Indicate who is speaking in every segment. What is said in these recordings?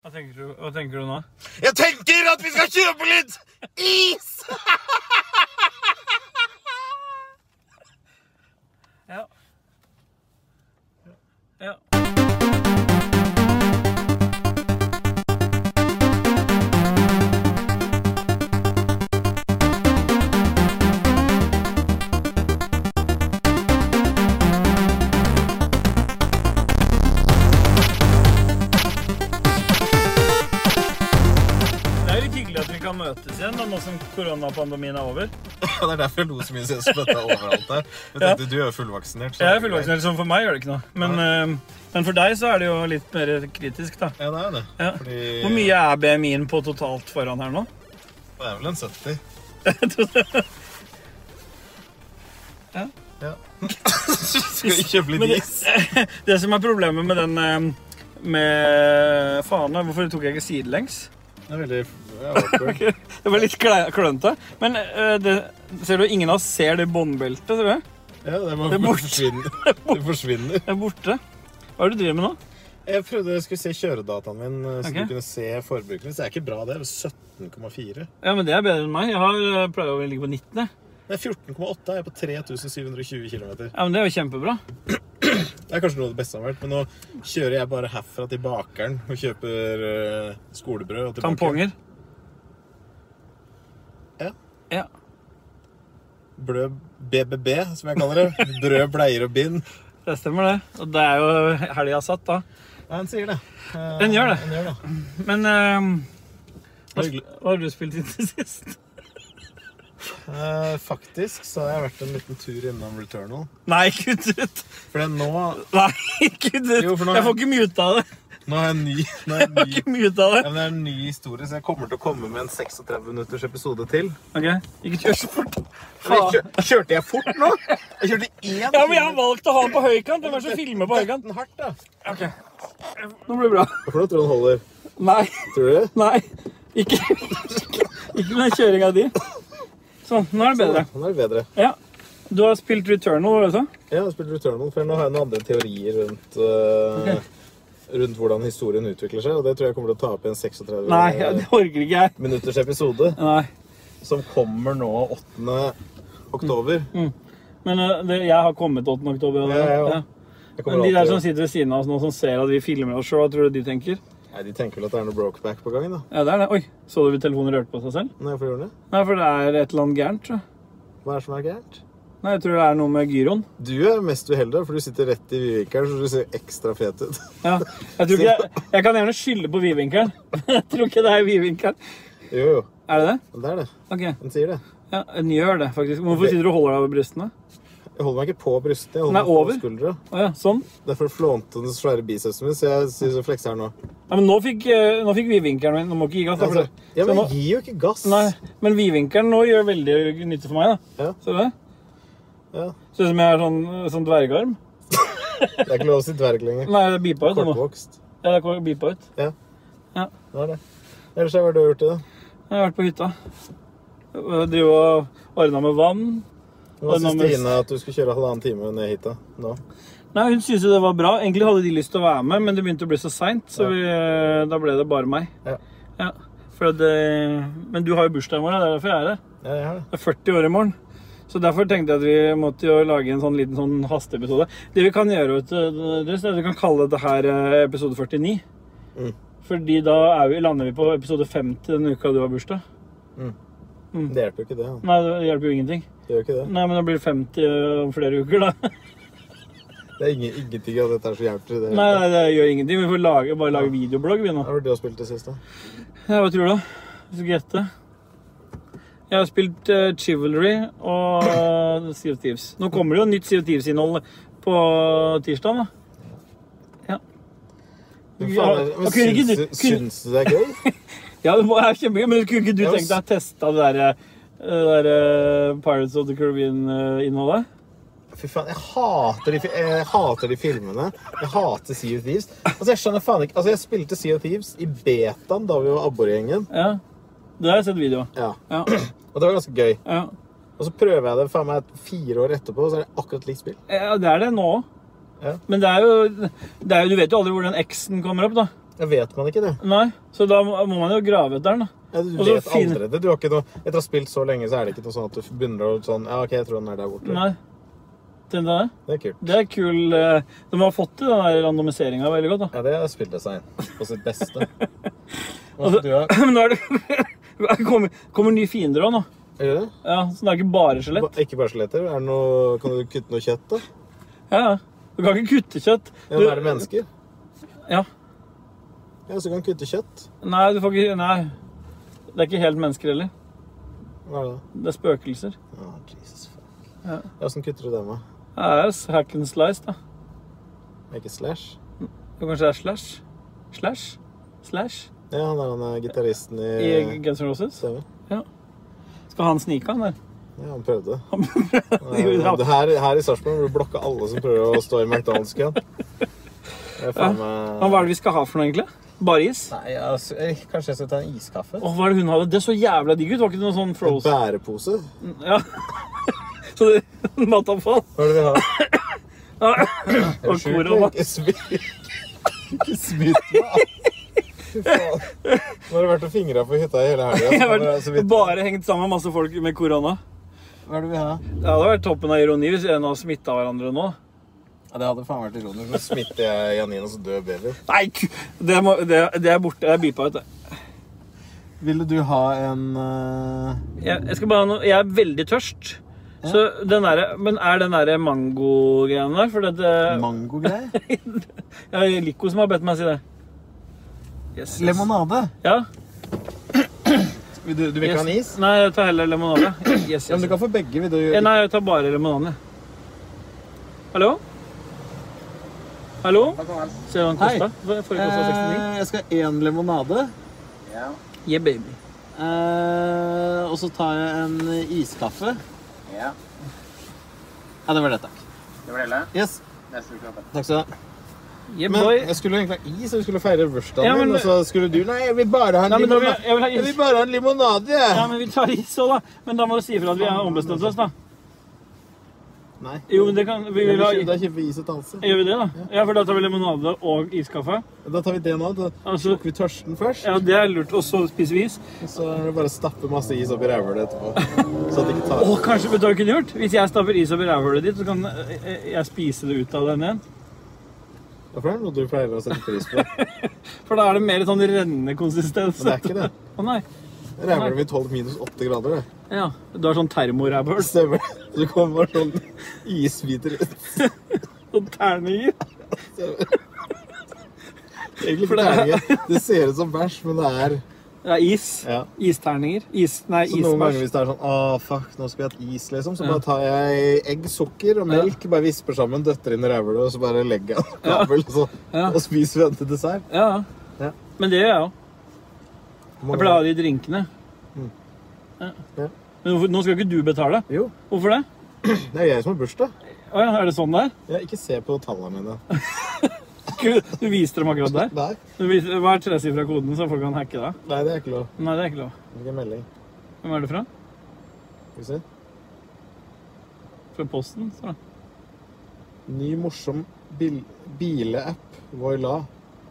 Speaker 1: Hva tenker du, hva tenker du nå?
Speaker 2: Jeg tenker at vi skal kjøpe litt is!
Speaker 1: Ja. Ja. Det er litt hyggelig at vi kan møtes igjen da, nå som koronapandemien er over.
Speaker 2: Ja, det er derfor jeg lo så mye siden jeg spytta overalt der. Jeg tenkte, Du er jo fullvaksinert. så
Speaker 1: Jeg er
Speaker 2: det greit.
Speaker 1: fullvaksinert, så for meg gjør det ikke noe. Men, eh, men for deg så er det jo litt mer kritisk, da.
Speaker 2: Ja, det er det.
Speaker 1: Ja.
Speaker 2: Fordi
Speaker 1: Hvor mye er BMI-en på totalt foran her nå?
Speaker 2: Det er vel en 70.
Speaker 1: Ja.
Speaker 2: ja. skal vi kjøpe
Speaker 1: Men
Speaker 2: litt is?
Speaker 1: det, det som er problemet med den eh, med fana Hvorfor tok jeg ikke sidelengs?
Speaker 2: Det er veldig ja, awkward.
Speaker 1: Det var litt klei- klønete. Men eh, det, ser du, ingen av oss ser det båndbeltet, ser du?
Speaker 2: Ja,
Speaker 1: Det
Speaker 2: det,
Speaker 1: er
Speaker 2: bare
Speaker 1: borte.
Speaker 2: forsvinner. det forsvinner.
Speaker 1: Det er borte. Hva er det du driver med nå?
Speaker 2: Jeg prøvde jeg skulle se kjøredataen min, eh, så
Speaker 1: Ok.
Speaker 2: du kunne se forbruket mitt. Det er ikke bra, det. Det er 17,4.
Speaker 1: Ja, men Det er bedre enn meg. Jeg har, eh, pleier å ligge på 19. jeg.
Speaker 2: Det er 14,8. Jeg er på 3720 km.
Speaker 1: Ja, men Det er jo kjempebra.
Speaker 2: Det er kanskje noe av det beste som har vært, men nå kjører jeg bare herfra til bakeren og kjøper eh, skolebrød. Og til
Speaker 1: Tamponger.
Speaker 2: Ja.
Speaker 1: Ja.
Speaker 2: bakeren. Blød BBB, som jeg kaller det. Brød, bleier og bind.
Speaker 1: Det stemmer, det. Og det er jo helga satt, da.
Speaker 2: Nei, han sier det. Eh,
Speaker 1: Den gjør det.
Speaker 2: Den gjør det.
Speaker 1: Men eh, hva,
Speaker 2: Hyggelig.
Speaker 1: hva har du spilt inn til sist?
Speaker 2: Eh, faktisk så har jeg vært en liten tur innom Returnal.
Speaker 1: Nei, kutt ut!
Speaker 2: For nå, nå
Speaker 1: Nei, kutt ut!
Speaker 2: Jo, for nå-
Speaker 1: Jeg får ikke muta det.
Speaker 2: har jeg en ny, nå har
Speaker 1: Jeg
Speaker 2: jeg en
Speaker 1: får
Speaker 2: ny
Speaker 1: ikke muta
Speaker 2: ja,
Speaker 1: det.
Speaker 2: men Det er en ny historie, så jeg kommer til å komme med en 36 minutters episode til.
Speaker 1: Ok, Ikke kjør så fort.
Speaker 2: Men
Speaker 1: Faen.
Speaker 2: kjør- Kjørte jeg fort nå? Jeg kjørte én
Speaker 1: Ja, men jeg har valgt å ha den på høykant. Hvem er det som filmer på høykant?
Speaker 2: Den hardt, da.
Speaker 1: Ok, Nå blir det bra.
Speaker 2: Hvorfor tror du den holder?
Speaker 1: Nei.
Speaker 2: Tror du det?
Speaker 1: Nei. Ikke, ikke med den kjøringa di. Sånn. Nå er det bedre.
Speaker 2: Den er bedre.
Speaker 1: Ja. Du har spilt Returnal, var det så?
Speaker 2: Ja, jeg har spilt Returnal, for nå har jeg noen andre teorier rundt, eh, rundt hvordan historien utvikler seg, og det tror jeg kommer til å ta opp i en 36
Speaker 1: Nei, ja, det orker ikke jeg.
Speaker 2: minutters episode,
Speaker 1: Nei.
Speaker 2: som kommer nå 8. oktover.
Speaker 1: Mm. Men eh, det, jeg har kommet 8. oktober. og det-
Speaker 2: Ja, jeg også.
Speaker 1: ja.
Speaker 2: Jeg kommer
Speaker 1: Men de der
Speaker 2: alltid-
Speaker 1: som sitter ved siden av oss nå, som ser at vi filmer oss sjøl, hva tror du de tenker?
Speaker 2: Nei, de tenker vel at det er noe brokeback på gang, da.
Speaker 1: Ja, det er det. Oi, så du telefonen rørte på seg selv?
Speaker 2: Når jeg får gjøre det.
Speaker 1: Nei, for det er et eller annet gærent, tror jeg.
Speaker 2: Hva er det som er gærent?
Speaker 1: Nei, jeg tror det er noe med gyroen.
Speaker 2: Du er mest uheldig, for du sitter rett i vidvinkelen, så du ser ekstra fet ut.
Speaker 1: Ja. Jeg, tror ikke jeg, jeg kan gjerne skylde på vidvinkelen. Jeg tror ikke det er vidvinkelen.
Speaker 2: Jo, jo.
Speaker 1: Er det det?
Speaker 2: Det er det.
Speaker 1: Ok.
Speaker 2: Den sier det.
Speaker 1: Ja, den gjør det, faktisk. Hvorfor sitter du og holder deg over brystene?
Speaker 2: Jeg holder meg ikke på brystet, jeg holder
Speaker 1: Nei,
Speaker 2: meg på
Speaker 1: over.
Speaker 2: skuldra.
Speaker 1: Å ja, sånn.
Speaker 2: Derfor flånte den svære bicepsen min, så jeg sier så flekser her nå.
Speaker 1: Nei, men nå fikk, eh, nå fikk vidvinkelen min Nå må ikke gi gass. da, for
Speaker 2: Altså,
Speaker 1: det-
Speaker 2: ja,
Speaker 1: så
Speaker 2: men
Speaker 1: nå-
Speaker 2: gi jo ikke gass.
Speaker 1: Nei, men vidvinkelen nå gjør veldig nytte for meg, da.
Speaker 2: Ja.
Speaker 1: Ser du det?
Speaker 2: Ja.
Speaker 1: Ser ut som jeg har sånn, sånn dvergarm.
Speaker 2: Det er ikke lov å si dverg lenger.
Speaker 1: Nei, det beepa ut det nå.
Speaker 2: Kortvokst.
Speaker 1: Ja, det kom- beepa ut.
Speaker 2: Det er det. Ellers hva har du gjort i dag?
Speaker 1: Jeg har vært på hytta. Jeg driver og ordna med vann. Det
Speaker 2: Hva
Speaker 1: er
Speaker 2: syns
Speaker 1: nærmest-
Speaker 2: Stine at du skulle kjøre halvannen time ned hit da? Nå?
Speaker 1: Nei, Hun syntes jo det var bra. Egentlig hadde de lyst til å være med, men det begynte å bli så seint, så vi, eh, da ble det bare meg.
Speaker 2: Ja.
Speaker 1: Ja, for det, men du har jo bursdag i morgen, det er derfor jeg er her.
Speaker 2: Ja, jeg har det.
Speaker 1: Det er 40 år i morgen. Så derfor tenkte jeg at vi måtte jo lage en sånn liten sånn hasteepisode. Det vi kan gjøre, vet du, Andres, er at vi kan kalle dette her eh, episode 49.
Speaker 2: Mm.
Speaker 1: Fordi da er vi, lander vi på episode 50 den uka du har bursdag.
Speaker 2: Det hjelper jo ikke det. da.
Speaker 1: Nei, det hjelper jo ingenting.
Speaker 2: Det gjør jo ikke det.
Speaker 1: Nei, men det blir 50 om flere uker, da.
Speaker 2: Det er ingen, ingenting av dette her som hjelper i det. hele
Speaker 1: Nei,
Speaker 2: tatt.
Speaker 1: nei, det gjør ingenting. Vi får lage, bare lage videoblogg, vi nå.
Speaker 2: Hva har du har spilt det siste?
Speaker 1: Ja, hva tror du, da? Hvis du skal gjette. Jeg har spilt eh, Chivalry og eh, Sea of Thieves. Nå kommer det jo nytt Sea of Thieves-innhold på tirsdag, da. Ja,
Speaker 2: Men faen, men
Speaker 1: og kunne ikke du-
Speaker 2: syns, du-
Speaker 1: kunne-
Speaker 2: syns du det er gøy?
Speaker 1: Ja, det var kjempegøy, men kunne ikke du
Speaker 2: Ja,
Speaker 1: tenkt deg å teste det der, eh, det der eh, Pirates of the Caribbean-innholdet?
Speaker 2: Fy faen, jeg hater, de, fi- jeg hater de filmene. Jeg hater Sea of Thieves. Altså, Jeg skjønner faen ikke Altså, jeg spilte Sea of Thieves i betaen da vi var abborgjengen.
Speaker 1: Ja. Det har jeg sett video av.
Speaker 2: Ja.
Speaker 1: Ja,
Speaker 2: Og det var ganske gøy.
Speaker 1: ja.
Speaker 2: Og så prøver jeg det faen meg fire år etterpå, og så er det akkurat likt spill.
Speaker 1: ja, det er det nå òg.
Speaker 2: Ja.
Speaker 1: Men det er, jo, det er jo Du vet jo aldri hvor den X-en kommer opp, da.
Speaker 2: Jeg vet man ikke det.
Speaker 1: Nei, så da må må man jo grave etter den. da.
Speaker 2: Ja, du
Speaker 1: Og så
Speaker 2: vet
Speaker 1: fin-
Speaker 2: aldri det. Du har ikke noe Etter å ha spilt så lenge, så er det ikke noe sånn at du begynner å sånn Ja, OK, jeg tror den er der borte.
Speaker 1: Nei. Den der.
Speaker 2: Det er kult.
Speaker 1: Det er kul eh, De har fått til den randomiseringa veldig godt. da.
Speaker 2: Ja, det er spilldesign på sitt beste. Hva
Speaker 1: Altså-
Speaker 2: skal du ha?
Speaker 1: Men nå er det det kommer, kommer nye fiender òg nå.
Speaker 2: Gjør du det?
Speaker 1: Ja, så det er ikke bare skjelett.
Speaker 2: Ba- Ikke bare skjeletter. Er det noe, kan du kutte noe kjøtt, da?
Speaker 1: Ja, ja. Du kan ikke kutte kjøtt.
Speaker 2: Ja, men er det mennesker?
Speaker 1: Ja.
Speaker 2: Ja, så kan du kutte kjøtt.
Speaker 1: Nei, du får ikke Nei. Det er ikke helt mennesker heller.
Speaker 2: Hva er det da?
Speaker 1: Det er spøkelser.
Speaker 2: Å, Jesus fuck.
Speaker 1: Ja.
Speaker 2: Ja, Åssen kutter du det med?
Speaker 1: Det er s- hack and slice, da.
Speaker 2: Er ikke Slash?
Speaker 1: Det kanskje er slash? Slash? Slash?
Speaker 2: Ja, han er han eh, gitaristen i
Speaker 1: I Guns N' Roses?
Speaker 2: Stemmer.
Speaker 1: Skal han snike, han der?
Speaker 2: Ja, han prøvde.
Speaker 1: Han prøvde-
Speaker 2: Ja, det her, her i Sarpsborg vil du blokke alle som prøver å stå i McDonald's-køen. Det er faen meg-
Speaker 1: Men Hva er det vi skal ha for noe, egentlig? Bare is?
Speaker 2: Nei, altså, eh, Kanskje jeg skal ta en iskaffe?
Speaker 1: Åh, hva er det hun hadde? Det så jævla digg ut. Var ikke det noe sånn
Speaker 2: En
Speaker 1: frozen?
Speaker 2: bærepose?
Speaker 1: Ja. Så det Matavfall.
Speaker 2: Hva er det vi har?
Speaker 1: Ja.
Speaker 2: Er du
Speaker 1: Og
Speaker 2: sjuk,
Speaker 1: kor
Speaker 2: eller?
Speaker 1: og mat.
Speaker 2: Ikke smitt Ikke smitt meg! da. Fy faen. Nå har du vært og fingra på hytta hele helga.
Speaker 1: Jeg har vært bare hengt sammen med masse folk med korona.
Speaker 2: Hva er det vi har?
Speaker 1: Det hadde vært toppen av ironi hvis en av oss smitta hverandre nå.
Speaker 3: Ja, det hadde faen vært ironisk.
Speaker 2: Nå smitter jeg Janinas døde baby.
Speaker 1: Nei, ku- det, må, det, det er borte. Det er beepa ut. det.
Speaker 2: Ville du ha en eh,
Speaker 1: Jeg, jeg skal bare ha noe Jeg er veldig tørst. Så den derre Men er den derre mango-greien der? For det, det
Speaker 3: Mangogreie?
Speaker 1: Jeg er Lico som har bedt meg si det. Yes, yes.
Speaker 3: Lemonade?
Speaker 1: Ja.
Speaker 2: Vil du, du vil ikke ha en is?
Speaker 1: Nei, jeg tar heller lemonade. Yes, yes.
Speaker 2: Ja, men du kan få begge. Vil du
Speaker 1: Ja, Nei, jeg tar bare lemonade. Hallo? Hallo? Ser du hva den
Speaker 3: Hei.
Speaker 1: kosta? Forrige kosta 69.
Speaker 3: Eh, jeg skal ha én lemonade.
Speaker 1: Yeah, baby.
Speaker 3: Eh, og så tar jeg en iskaffe.
Speaker 4: Ja,
Speaker 3: Ja, det var det, takk.
Speaker 4: det var det hele.
Speaker 3: Yes,
Speaker 4: Neste uke. håper jeg.
Speaker 3: takk skal du ha.
Speaker 1: Yeah,
Speaker 2: Men
Speaker 1: boy.
Speaker 2: jeg skulle egentlig ha is, og vi skulle feire bursdagen
Speaker 1: Ja, men-
Speaker 2: min, og så skulle du Nei, jeg vil bare ha en
Speaker 1: Nei, men da vil jeg,
Speaker 2: limonade.
Speaker 1: jeg vil ha
Speaker 2: Jeg
Speaker 1: is.
Speaker 2: vil bare ha en limonade, jeg.
Speaker 1: Ja, men vi tar is òg, da. Men da må du si ifra at vi har ombestemt oss, da.
Speaker 2: Nei.
Speaker 1: Jo, men det kan Vi vil ha
Speaker 2: Da kjøper vi is og tanse.
Speaker 1: Gjør vi det, da? Ja, for da tar vi limonade og iskaffe.
Speaker 2: Da tar vi det nå. Da
Speaker 1: Altså,
Speaker 2: slukker vi tørsten først,
Speaker 1: ja, det er lurt. Og så spiser vi is.
Speaker 2: og så er det bare å stappe masse is oppi rævhølet etterpå. Så at det ikke tar
Speaker 1: Og kanskje vet du hva vi kunne gjort? Hvis jeg stapper is over rævhølet ditt, så kan eh, jeg spise det ut av den igjen.
Speaker 2: Hvorfor er det noe du pleier å sette pris på? Men
Speaker 1: For da er det mer sånn rennende konsistens.
Speaker 2: det er ikke det.
Speaker 1: Å nei.
Speaker 2: Rævhølet mitt holder minus åtte grader, det.
Speaker 1: Ja. Du har sånn termorævhøl
Speaker 2: Stemmer det? Så det kommer bare sånn isbiter ut.
Speaker 1: og sånn terninger.
Speaker 2: Egentlig
Speaker 1: For
Speaker 2: for
Speaker 1: det er-
Speaker 2: terninger. Det ser ut som bæsj, men det er
Speaker 1: Det er is.
Speaker 2: Ja.
Speaker 1: Isterninger. Is, nei,
Speaker 2: Så noen ganger
Speaker 1: isbæsj.
Speaker 2: hvis det er sånn Å, fuck, nå skal vi ha et is, liksom. Så
Speaker 1: Ja.
Speaker 2: bare tar jeg egg, sukker og melk, bare visper sammen, døtter inn i rævhølet, og så bare legger jeg en kabel, og, så,
Speaker 1: Ja.
Speaker 2: og spiser vi den til dessert.
Speaker 1: Ja.
Speaker 2: Ja.
Speaker 1: Men det gjør jeg òg.
Speaker 2: Hvor
Speaker 1: Jeg
Speaker 2: mange-
Speaker 1: pleier å ha de drinkene. Ja.
Speaker 2: Mm. Ja.
Speaker 1: Men hvorfor, nå skal ikke du betale.
Speaker 2: Jo,
Speaker 1: Hvorfor det?
Speaker 2: det er jeg som har bursdag.
Speaker 1: Å ja, er det sånn det er?
Speaker 2: Jeg ikke se på tallene mine.
Speaker 1: Gud, Du viste dem akkurat der.
Speaker 2: Nei,
Speaker 1: Du viser, hva er tresifra koden, så folk kan hacke deg?
Speaker 2: nei det er ikke lov.
Speaker 1: Nei, det er ikke lov.
Speaker 2: Hvilken melding?
Speaker 1: Hvem er det fra?
Speaker 2: Skal vi se.
Speaker 1: Fra Posten? står det.
Speaker 2: Ny morsom bil bileapp. Voila.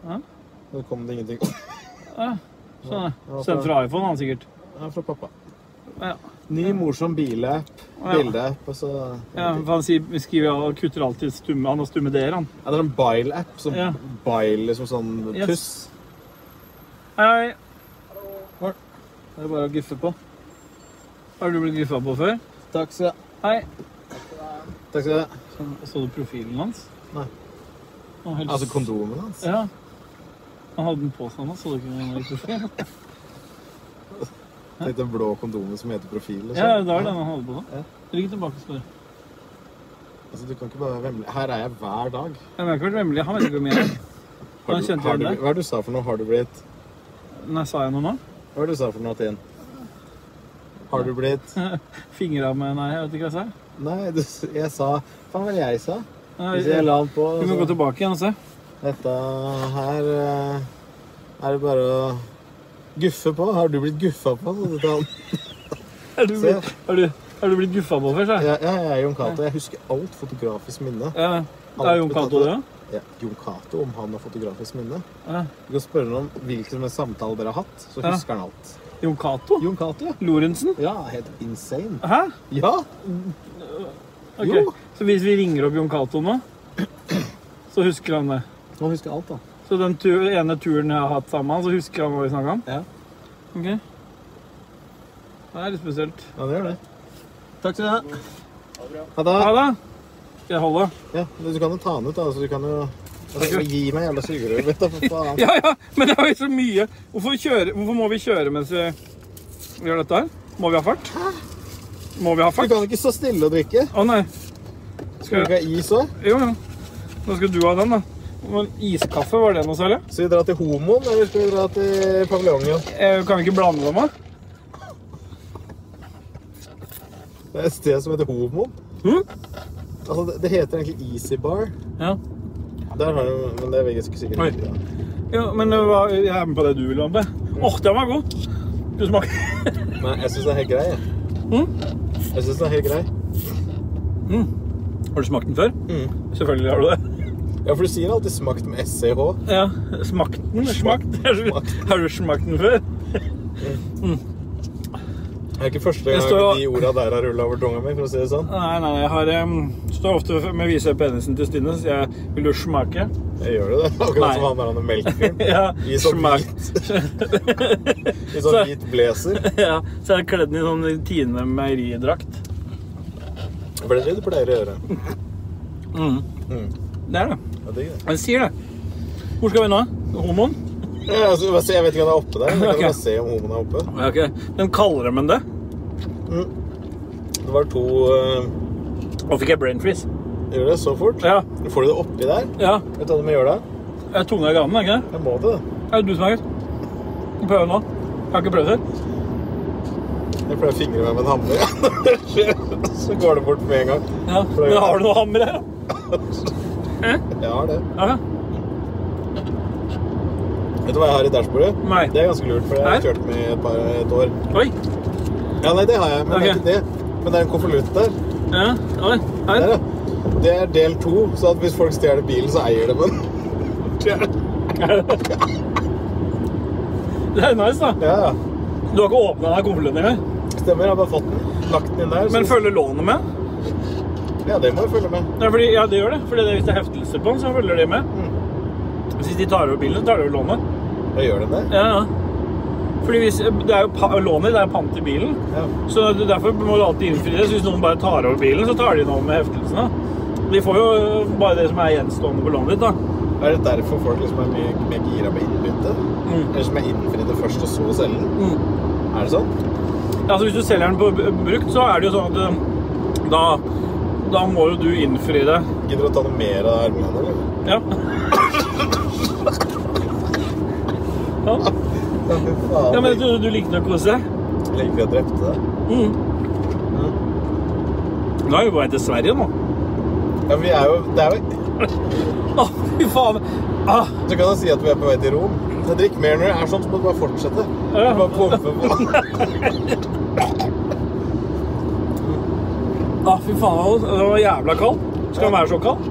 Speaker 1: Ja.
Speaker 2: Nå kom det ingenting. Det
Speaker 1: Sånn,
Speaker 2: Ja,
Speaker 1: ja.
Speaker 2: fra-
Speaker 1: Sendt fra iPhone, han sikkert.
Speaker 2: er fra pappa.
Speaker 1: Ja.
Speaker 2: Ny morsom bileapp.
Speaker 1: Ja.
Speaker 2: Bildeapp, og så
Speaker 1: Ja, for han sier, skriver og kutter alltid stumme Han har stumme d-er, han.
Speaker 2: Ja, det er en bile-app. Som
Speaker 1: Ja.
Speaker 2: bile som sånn puss.
Speaker 1: Hei,
Speaker 3: Det er bare å guffe på.
Speaker 1: har du blitt guffa på før?
Speaker 3: Takk skal du ha.
Speaker 1: Hei.
Speaker 2: Takk skal du ha.
Speaker 1: Så du profilen hans?
Speaker 2: Nei.
Speaker 1: Han var helt-
Speaker 2: Altså kondomen hans.
Speaker 1: Ja. Han hadde den på seg nå, så du ikke den var i profil?
Speaker 2: Tenk den blå kondomen som heter profil. Liksom.
Speaker 1: Ja, det var den han hadde på
Speaker 2: Ja.
Speaker 1: nå. Rygg tilbake og spør.
Speaker 2: Altså, du kan ikke bare være vemmelig. Her er jeg hver dag.
Speaker 1: Jeg har ikke vært vemmelig. Han vet ikke hvor mye jeg er.
Speaker 2: Har
Speaker 1: Han
Speaker 2: du,
Speaker 1: kjente
Speaker 2: har
Speaker 1: igjen
Speaker 2: du,
Speaker 1: deg.
Speaker 2: hva er det du sa for noe? Har du blitt
Speaker 1: Nei, sa jeg noe nå?
Speaker 2: Hva er det du sa for noe, Tinn? Har du blitt
Speaker 1: Fingra med Nei, jeg vet ikke hva jeg sa.
Speaker 2: Nei, du, jeg sa Faen, hva var det jeg sa?
Speaker 1: Nei,
Speaker 2: Hvis jeg la den på
Speaker 1: Vi må gå
Speaker 2: så,
Speaker 1: tilbake igjen og se.
Speaker 2: Dette her eh, er det bare å guffe på. Har du blitt guffa på? Så du kan-
Speaker 1: Er du
Speaker 2: Se.
Speaker 1: blitt, er du, er du blitt guffa på før, sa jeg?
Speaker 2: Ja, ja, jeg er Jon Cato. Jeg husker alt fotografisk minne.
Speaker 1: Ja. Det er Jon Cato, det òg?
Speaker 2: ja, Jon Cato om han har fotografisk minne.
Speaker 1: Ja.
Speaker 2: Du kan spørre ham om hvilken samtale dere har hatt, så
Speaker 1: Ja.
Speaker 2: husker han alt.
Speaker 1: Jon Cato?
Speaker 2: Jon Cato, ja.
Speaker 1: Lorentzen?
Speaker 2: Ja, helt insane.
Speaker 1: Hæ?
Speaker 2: Ja!
Speaker 1: Ok.
Speaker 2: Jo.
Speaker 1: Så hvis vi ringer opp Jon Cato nå, så husker han det.
Speaker 2: Han husker alt, da.
Speaker 1: Så den tu- ene turen jeg har hatt sammen med han, så husker han hva vi snakka om?
Speaker 2: Ja.
Speaker 1: Ok. Det er litt spesielt.
Speaker 2: Ja, det gjør det.
Speaker 3: Takk skal du ha.
Speaker 2: Ja, da,
Speaker 1: Ha det! Skal jeg holde?
Speaker 2: ja, men du kan jo ta han ut, da. Så du kan jo altså, Gi meg jævla sugerør, vet du. For faen.
Speaker 1: Ja, ja, men det er jo så mye. Hvorfor, kjøre, hvorfor må vi kjøre mens vi gjør dette her? Må vi ha fart? Må vi ha
Speaker 2: Du
Speaker 1: fart?
Speaker 2: kan ikke stå stille og drikke.
Speaker 1: Å nei.
Speaker 2: Skal du ikke ha is òg?
Speaker 1: Jo, jo. Nå skal du ha den, da. Men iskaffe, var det noe særlig?
Speaker 2: Skal vi dra til Homoen, eller skal vi dra til paviljongen?
Speaker 1: Eh, Kan vi ikke blande dem, da?
Speaker 2: Det er et sted som heter Homoen.
Speaker 1: Hm?
Speaker 2: Altså, det, det heter egentlig Easy Bar.
Speaker 1: Ja.
Speaker 2: Der har du, men det er vegansk sikkert
Speaker 1: Oi.
Speaker 2: ikke. Ja.
Speaker 1: ja. Men eh, hva- jeg er med på det du vil ha med. Åh, den var god. Du smaker
Speaker 2: Nei, jeg syns den er helt grei. jeg.
Speaker 1: Mm.
Speaker 2: Jeg syns den er helt grei.
Speaker 1: Har du smakt den før?
Speaker 2: Mm.
Speaker 1: Selvfølgelig har du det.
Speaker 2: Ja, for du sier alltid 'smakt med E SCH'.
Speaker 1: Ja. Smakt den? Smakt? Har du smakt den før?
Speaker 2: Det er ikke første
Speaker 1: Jeg
Speaker 2: gang
Speaker 1: står-
Speaker 2: de orda der har rulla over tunga mi, for å si det sånn.
Speaker 1: Nei, nei, jeg har um, Står ofte med å vise penisen til Stine, så jeg vil jo smake.
Speaker 2: Jeg gjør det, det. Akkurat som
Speaker 1: Nei.
Speaker 2: han der han melkefyren.
Speaker 1: Ja,
Speaker 2: I sånn
Speaker 1: smak.
Speaker 2: hvit I sånn
Speaker 1: Så-
Speaker 2: hvit blazer.
Speaker 1: Ja, så jeg har kledd den i sånn Tine meieridrakt.
Speaker 2: For det er det du pleier å gjøre.
Speaker 1: Mm.
Speaker 2: Mm.
Speaker 1: Det er det.
Speaker 2: Ja, digg det.
Speaker 1: Den sier det. Hvor skal vi nå? Homoen?
Speaker 2: Ja, altså, bare se, jeg vet ikke om det er oppe der. men Jeg kan
Speaker 1: Ok.
Speaker 2: bare se om homoen er oppe.
Speaker 1: Ja, ok. Men kaller de den det?
Speaker 2: Det var to øh,
Speaker 1: Nå fikk jeg brain freeze.
Speaker 2: Gjør det så fort?
Speaker 1: Ja.
Speaker 2: Får du det oppi der?
Speaker 1: ja.
Speaker 2: Vet du hva du må gjøre da?
Speaker 1: Jeg er tunga i ganen, er ikke det?
Speaker 2: Jeg må det, da.
Speaker 1: Er det du som er Prøv nå. Jeg har ikke prøvd før.
Speaker 2: Jeg pleier å fingre meg med en hammer. så går det bort med en gang.
Speaker 1: Ja. Men har du noe hammer her? Eh,
Speaker 2: Jeg har det.
Speaker 1: Ja.
Speaker 2: Vet du hva jeg har i dashbordet?
Speaker 1: Nei.
Speaker 2: Det er ganske lurt, for jeg har
Speaker 1: Nei.
Speaker 2: kjørt med et, par, et år.
Speaker 1: Oi.
Speaker 2: Ja, nei, det har jeg, men det er
Speaker 1: Ok.
Speaker 2: ikke det. Men det er en konvolutt der.
Speaker 1: Ja. Oi. Her.
Speaker 2: Der, ja. Det er del to, så at hvis folk stjeler bilen, så eier de den.
Speaker 1: Det er nice, da.
Speaker 2: Ja, ja.
Speaker 1: Du har ikke åpna deg konvolutten engang.
Speaker 2: Stemmer, jeg har bare fått den. Lagt den inn der.
Speaker 1: Men følger lånet med?
Speaker 2: Ja, det må jeg følge med.
Speaker 1: Ja, fordi, ja, det gjør det. Fordi det, hvis det er heftelser på den, så følger de med.
Speaker 2: Mm.
Speaker 1: Hvis de tar over bilen, så tar de over lånet.
Speaker 2: Da gjør den det.
Speaker 1: Ja, ja. Fordi hvis, eh, det er jo pa lånet, det er pant i bilen.
Speaker 2: Ja.
Speaker 1: Så det- derfor må du alltid innfri det. Så hvis noen bare tar over bilen, så tar de den over med heftelsene. De får jo øh, bare det som er gjenstående på lånet ditt, da.
Speaker 2: Er det derfor folk liksom er mye mer gira på innbytte?
Speaker 1: Mm.
Speaker 2: Eller som er innfridd det først, og så selge den? Er det sånn?
Speaker 1: Ja, Mm. Altså, hvis du selger den på b- brukt, så er det jo sånn at øh, da, da må jo du innfri det.
Speaker 2: Gidder du å ta noe mer av armene, eller?
Speaker 1: Ja. ja.
Speaker 2: Ja, fy faen.
Speaker 1: ja, men du, du likte å kose deg?
Speaker 2: Lenge før jeg drepte deg.
Speaker 1: Mm. Nå er vi på vei til Sverige nå.
Speaker 2: Ja, men vi er jo, det er jo...
Speaker 1: Å, fy faen! Ah,
Speaker 2: Så kan jeg si at vi er på vei til Rom. Men drikk mer når det er sånn, så må du bare fortsette. Du
Speaker 1: Ja.
Speaker 2: Bare pumpe på.
Speaker 1: ah, fy faen, det var jævla kald. Skal den være så kald?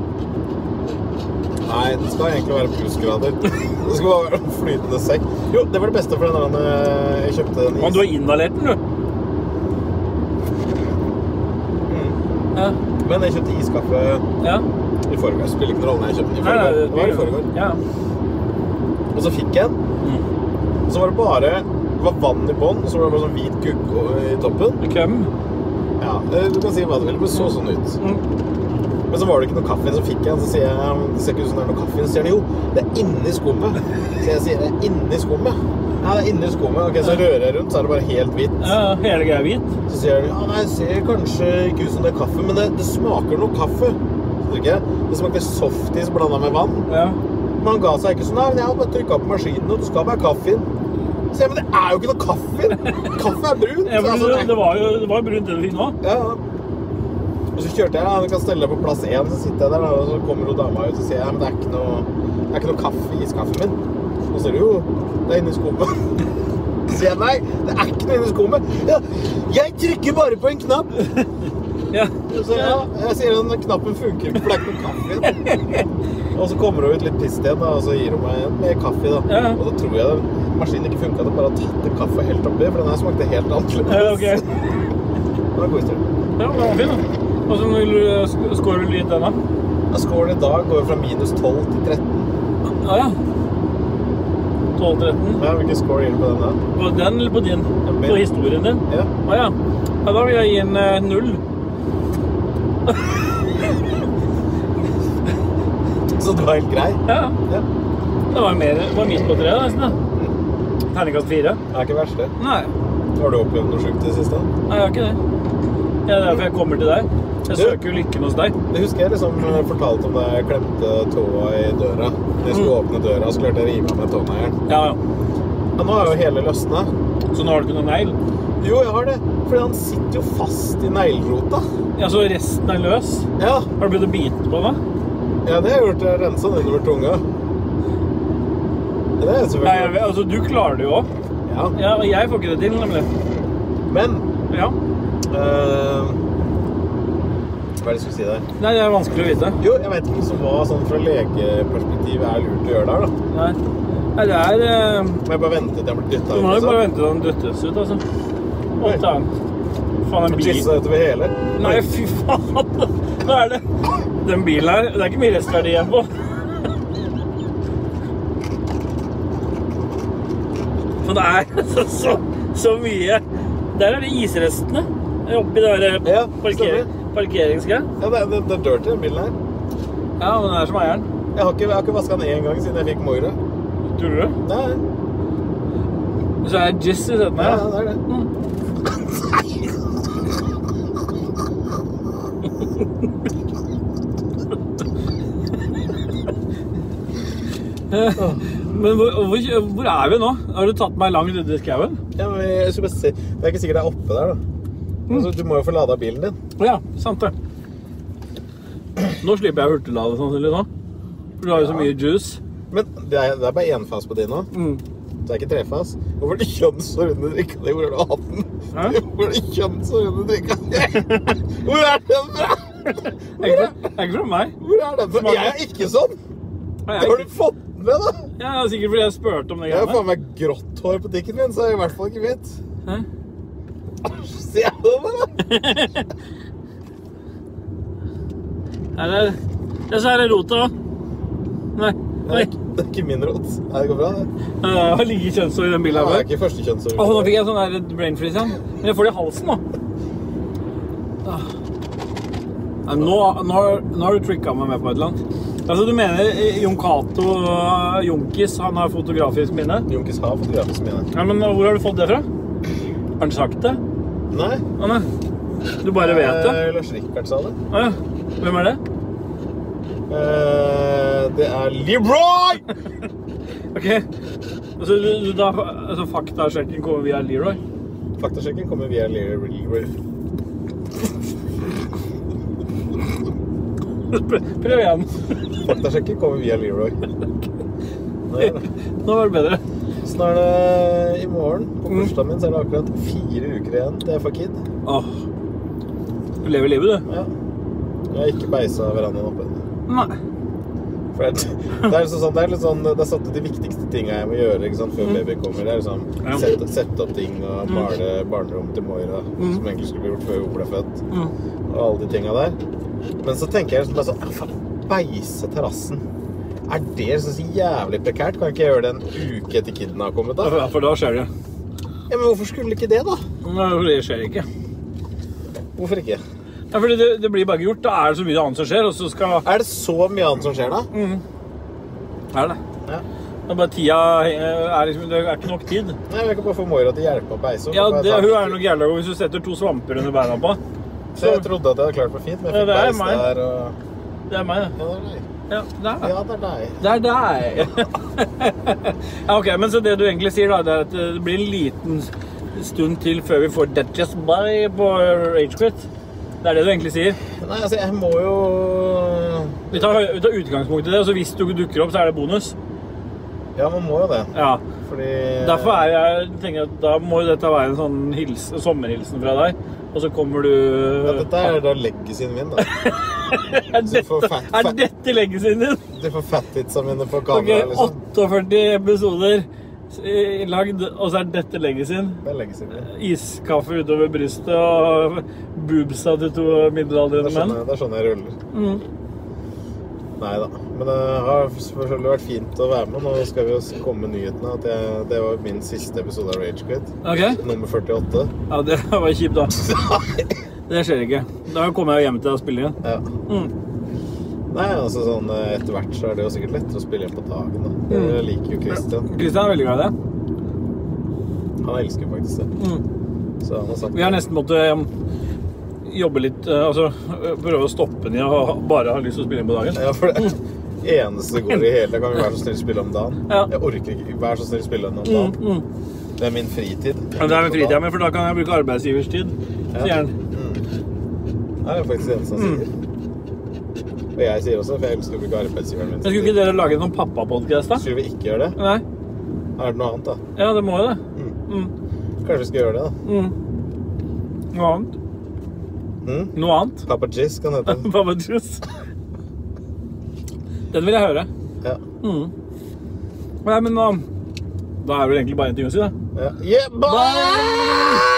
Speaker 2: Nei, det skal egentlig være plussgrader. Det skal bare være en flytende sekk. Jo, det var det beste for den der eh, jeg kjøpte den
Speaker 1: Men du har inhalert den, du. Ja.
Speaker 2: Mm. Men jeg kjøpte iskaffe
Speaker 1: ja.
Speaker 2: i forgår. Spiller ikke noen rolle når jeg kjøpte den i
Speaker 1: Nei, nei,
Speaker 2: forgår. Det var i
Speaker 1: blir jo-
Speaker 2: forgår.
Speaker 1: Ja.
Speaker 2: Og så fikk jeg den. Og så var det bare det var vann i bånn, og så var det bare sånn hvit gugg i toppen.
Speaker 1: Køm.
Speaker 2: Ja, eh, du kan si hva du vil, men så sånn ut.
Speaker 1: Mm.
Speaker 2: Men så var det ikke noe kaffe, så fikk jeg den, så sier jeg det ser ikke ut som det er noe kaffe. Så sier de jo, det er inni skummet. Så jeg sier det er inni skummet. Ja, det er inni skummet. Ok, så rører jeg rundt, så er det bare helt hvitt.
Speaker 1: Ja, hele greia er hvit.
Speaker 2: Så sier de, ja, nei, det ser kanskje ikke ut som det er kaffe, men det, det smaker noe kaffe. Så drikker jeg. Det smakte softis blanda med vann.
Speaker 1: Ja.
Speaker 2: Men han ga seg ikke sånn, nei, men jeg har bare trykka på maskinen, og du skal være kaffe inn. Så jeg, men det er jo ikke noe kaffe inn. Kaffe er brun.
Speaker 1: Ja,
Speaker 2: Så
Speaker 1: men
Speaker 2: altså,
Speaker 1: det,
Speaker 2: det-
Speaker 1: det var jo det var jo brunt det du fikk nå.
Speaker 2: ja. ja. Og så kjørte jeg, ja, du kan stelle deg på plass én, så sitter jeg der, da, og så kommer jo dama ut og sier ja, men det er ikke noe, det er ikke noe kaffe i iskaffen min. Og så sier du jo, det er inni skummet. Så sier jeg nei, det er ikke noe inni skummet. Ja, jeg trykker bare på en knapp.
Speaker 1: Ja.
Speaker 2: Så ja, jeg sier den knappen funker ikke, for det er ikke noe kaffe i den. Og så kommer hun ut litt pissed igjen, da, og så gir hun meg en med kaffe. da.
Speaker 1: Ja.
Speaker 2: Og da tror jeg den maskinen ikke funka, at jeg bare har tatt en kaffe helt oppi, for den her smakte helt annerledes.
Speaker 1: Ja, ok. Ja,
Speaker 2: Det var en god historie.
Speaker 1: men den var fin, da. Og så vil du sk- score vel litt den, da?
Speaker 2: Ja, Scoren i dag går jo fra minus 12 til 13.
Speaker 1: Ja, ja. 12-13.
Speaker 2: Ja, Hvilken score gir du på den her?
Speaker 1: På den eller på din?
Speaker 2: min.
Speaker 1: På historien din?
Speaker 2: Ja.
Speaker 1: Å ja. ja. Da vil jeg gi en eh, null.
Speaker 2: Så det var helt grei.
Speaker 1: Ja.
Speaker 2: Ja.
Speaker 1: Det var mer det var midt på treet, nesten. da. Terningkast fire.
Speaker 2: Det er ikke verst, det.
Speaker 1: Mm. Nei.
Speaker 2: Har du opplevd noe sjukt i det siste?
Speaker 1: Nei, jeg har ikke det. Ja, Det er derfor jeg kommer til deg. Jeg
Speaker 2: Du-
Speaker 1: søker jo lykken hos deg.
Speaker 2: Det husker jeg liksom eh, fortalte om da jeg klemte tåa i døra. Når jeg skulle
Speaker 1: Mm.
Speaker 2: åpne døra, så klarte jeg å rive av meg tåneglen.
Speaker 1: Ja, ja.
Speaker 2: Ja, nå er jo hele løsna.
Speaker 1: Så nå har du ikke noen negl?
Speaker 2: Jo, jeg har det. Fordi han sitter jo fast i neglrota.
Speaker 1: Ja, så resten er løs?
Speaker 2: Ja,
Speaker 1: Har du begynt å bite på den? da?
Speaker 2: ja det har jeg gjort. Jeg har rensa den innover tunga. Ja, Det er
Speaker 1: Nei, jeg,
Speaker 2: selvfølgelig
Speaker 1: vet- altså, du klarer det jo òg.
Speaker 2: Ja.
Speaker 1: Ja, og jeg får ikke det til, nemlig.
Speaker 2: Men
Speaker 1: Ja.
Speaker 2: eh, Hva er det jeg skulle si der?
Speaker 1: Nei, det er vanskelig å vite.
Speaker 2: Jo, jeg vet ikke liksom hva sånn fra legeperspektiv er lurt å gjøre der, da.
Speaker 1: Nei, Nei det er eh,
Speaker 2: Må jeg bare vente til jeg blir liksom? dytta
Speaker 1: Du må jo bare vente til den døttes ut, altså. Og ta den. Faen, en bil
Speaker 2: Tisse utover hele.
Speaker 1: Nei, fy faen! Nå er det Den bilen her Det er ikke mye restverdi igjen på. For det er så, så, så mye Der er det isrestene oppi det
Speaker 2: Ja,
Speaker 1: der eh, parker,
Speaker 2: stemmer.
Speaker 1: parkeringsgreia.
Speaker 2: Ja, det er, det, det er dirty, den bilen her.
Speaker 1: Ja, men det er som eieren.
Speaker 2: Jeg har ikke, jeg har ikke vaska den én gang siden jeg fikk Moira.
Speaker 1: Tror du det?
Speaker 2: Nei,
Speaker 1: Så er det jizz i setene
Speaker 2: nei,
Speaker 1: her. da.
Speaker 2: det er det.
Speaker 1: Men hvor, hvor, hvor er vi nå? Har du tatt meg langt ute i skauen?
Speaker 2: Ja, men jeg skulle bare si, det er ikke sikkert det er oppe der, da.
Speaker 1: Mm.
Speaker 2: Altså, du må jo få lada bilen din.
Speaker 1: Ja, sant det. Nå slipper jeg hurtiglade sannsynlig nå. For du har jo så mye juice.
Speaker 2: Men det er, det er bare enfas på din nå.
Speaker 1: Mm.
Speaker 2: Det er ikke trefas. Hvorfor er det kjønns og runde drikka di? Hvor er det å ha den?
Speaker 1: Hæ?
Speaker 2: Hvor er det kjønns og runde drikka di? Hvor er den fra?
Speaker 1: Er ikke, fra- er ikke fra meg.
Speaker 2: Hvor er den fra? Jeg er ikke sånn!
Speaker 1: Jeg,
Speaker 2: Har
Speaker 1: er
Speaker 2: du
Speaker 1: ikke-
Speaker 2: fått den med, da?
Speaker 1: ja, det er sikkert fordi jeg spurte om det
Speaker 2: Jeg har
Speaker 1: greiene.
Speaker 2: faen meg grått hår på tikken min, så jeg er i hvert fall ikke hvitt.
Speaker 1: Hæ?
Speaker 2: Ser du det, da?
Speaker 1: Er det Ja, så er det rota òg. Nei.
Speaker 2: Det
Speaker 1: Nei.
Speaker 2: er ikke- det er ikke min rot. Nei, det går bra,
Speaker 1: Ja,
Speaker 2: det.
Speaker 1: Det har ligget kjønnshår i den bilen
Speaker 2: Det
Speaker 1: her.
Speaker 2: er ikke første kjønns
Speaker 1: Åh, nå fikk jeg sånn der brain freeze igjen. Men jeg får det i halsen nå. Ah. Nei, Nå, nå, nå har du tricka meg med på et eller annet. Altså, du mener eh, Jon Cato eh, Jonkis han har fotografisk minne?
Speaker 2: Junkis har fotografisk mine.
Speaker 1: Ja, men eh, Hvor har du fått det fra? Har han sagt det?
Speaker 2: Nei.
Speaker 1: Å, nei. Du bare vet det?
Speaker 2: Eh, Lars Rikard sa det.
Speaker 1: Å, ja. Hvem er det?
Speaker 2: Eh, det er Leroy!
Speaker 1: OK. Altså, du, du, da, altså faktasjekken kommer via Leroy?
Speaker 2: Faktasjekken kommer via Leroy. Leroy.
Speaker 1: Prøv prøv igjen.
Speaker 2: Faktasjekken kommer via Leroy. Nei, da.
Speaker 1: Nå var det bedre.
Speaker 2: Sånn er det i morgen. På bursdagen min så er det akkurat fire uker igjen til jeg får kid.
Speaker 1: Åh. Du lever livet, du.
Speaker 2: Ja. Jeg har ikke beisa verandaen oppe.
Speaker 1: Nei.
Speaker 2: For det, det, er liksom sånn, det er litt sånn Det er satt ut de viktigste tinga jeg må gjøre ikke sant, før babyen kommer. Det er liksom
Speaker 1: Mm. Ja. Mm.
Speaker 2: sette, sette opp ting og male barnerommet til Moira, som egentlig skulle bli gjort før hun ble født.
Speaker 1: Mm.
Speaker 2: og alle de tinga der. Men så tenker jeg liksom bare sånn «Ah, faen, Beise terrassen. Er det så jævlig prekært? Kan ikke jeg gjøre det en uke etter kiden har kommet? da?
Speaker 1: Ja, For da skjer det.
Speaker 2: Ja, Men hvorfor skulle ikke det, da?
Speaker 1: Nei, for det skjer ikke.
Speaker 2: Hvorfor ikke?
Speaker 1: Ja, fordi det, det blir bare ikke gjort. Da er det så mye annet som skjer, og så skal Mm.
Speaker 2: Er det så mye annet som skjer, da?
Speaker 1: Er det?
Speaker 2: Ja.
Speaker 1: Det er bare tida eh, er liksom, Det er ikke nok tid.
Speaker 2: Nei, Jeg kan bare få Moira til å hjelpe meg å beise.
Speaker 1: Ja,
Speaker 2: Bare
Speaker 1: det,
Speaker 2: ta-
Speaker 1: Hun er nok jævla god hvis du setter to svamper under beina på
Speaker 2: Så jeg trodde at jeg hadde klart meg fint, men jeg
Speaker 1: Ja,
Speaker 2: fikk
Speaker 1: det er
Speaker 2: beis
Speaker 1: meg.
Speaker 2: der og
Speaker 1: Det er meg, det.
Speaker 2: Ja, det er deg.
Speaker 1: Ja, det er det.
Speaker 2: Ja, det er deg.
Speaker 1: Det er deg. ja, ok, men så det du egentlig sier, da, det er at det blir en liten stund til før vi får That Just By på Ragequit. Det er det du egentlig sier.
Speaker 2: Nei, altså, jeg må jo
Speaker 1: Vi tar, vi tar utgangspunkt i det, og så hvis du dukker opp, så er det bonus.
Speaker 2: Ja, man må jo det.
Speaker 1: Ja.
Speaker 2: Fordi
Speaker 1: Derfor er jeg, tenker jeg at da må jo dette være en sånn hils, sommerhilsen fra deg. Og så kommer du
Speaker 2: ja, Dette er da legacyen min, da.
Speaker 1: Er
Speaker 2: Så får
Speaker 1: dette,
Speaker 2: fat-
Speaker 1: er dette leggesen din?
Speaker 2: Du får fathitsa mine på
Speaker 1: Ok,
Speaker 2: kamera, liksom.
Speaker 1: 48 episoder eh, lagd, og så er dette leggesen.
Speaker 2: Det er legacyen min.
Speaker 1: Iskaffe utover brystet og boobsa til to
Speaker 2: Det
Speaker 1: middelaldrende
Speaker 2: er sånn
Speaker 1: menn.
Speaker 2: jeg, det er sånn jeg ruller.
Speaker 1: Mm.
Speaker 2: Nei da. Men det har selvfølgelig vært fint å være med. Nå skal vi jo komme med nyhetene. At jeg, det var min siste episode av Ragequit.
Speaker 1: Ok,
Speaker 2: Nummer 48.
Speaker 1: ja, det var kjipt da. Det skjer ikke. Da kommer jeg jo hjem til deg og spiller igjen.
Speaker 2: Ja.
Speaker 1: Mm.
Speaker 2: Nei, altså sånn eh, etter hvert så er det jo sikkert lettere å spille inn på dagen, da. Det
Speaker 1: Mm.
Speaker 2: liker jo Christian.
Speaker 1: Kristian er veldig glad i deg.
Speaker 2: Han elsker faktisk det.
Speaker 1: Mm.
Speaker 2: Så han har sagt
Speaker 1: Vi har nesten måttet um, jobbe litt, eh, altså eh, prøve å stoppe ned og bare ha lyst til å spille inn på dagen.
Speaker 2: Ja, for det eneste det går i hele Kan vi være så snill spille om dagen?
Speaker 1: Ja.
Speaker 2: Jeg orker ikke. Vær så snill spille om dagen.
Speaker 1: Mm, mm.
Speaker 2: Det er min fritid.
Speaker 1: Ja, Det er med fritida mi, for da kan jeg bruke arbeidsgivers tid, sier han.
Speaker 2: Det er faktisk det eneste han
Speaker 1: Mm.
Speaker 2: sier. Og jeg sier også, for jeg elsker å bruke arbeidsgiveren min.
Speaker 1: Men skulle ikke dere lage noen pappapodkast, da?
Speaker 2: Skulle vi ikke gjøre det?
Speaker 1: Nei?
Speaker 2: Er det noe annet, da?
Speaker 1: Ja, det må jo det.
Speaker 2: Mm.
Speaker 1: Mm.
Speaker 2: Kanskje vi skal gjøre det,
Speaker 1: Mm. Noe annet?
Speaker 2: da? Mm?
Speaker 1: Noe annet?
Speaker 2: Papa Jizz kan hete.
Speaker 1: Papa Juice. Den vil jeg høre.
Speaker 2: Ja.
Speaker 1: Mm. Nei, men um, da er det vel egentlig bare en ting å si, da.
Speaker 2: ja. Yeah, bye!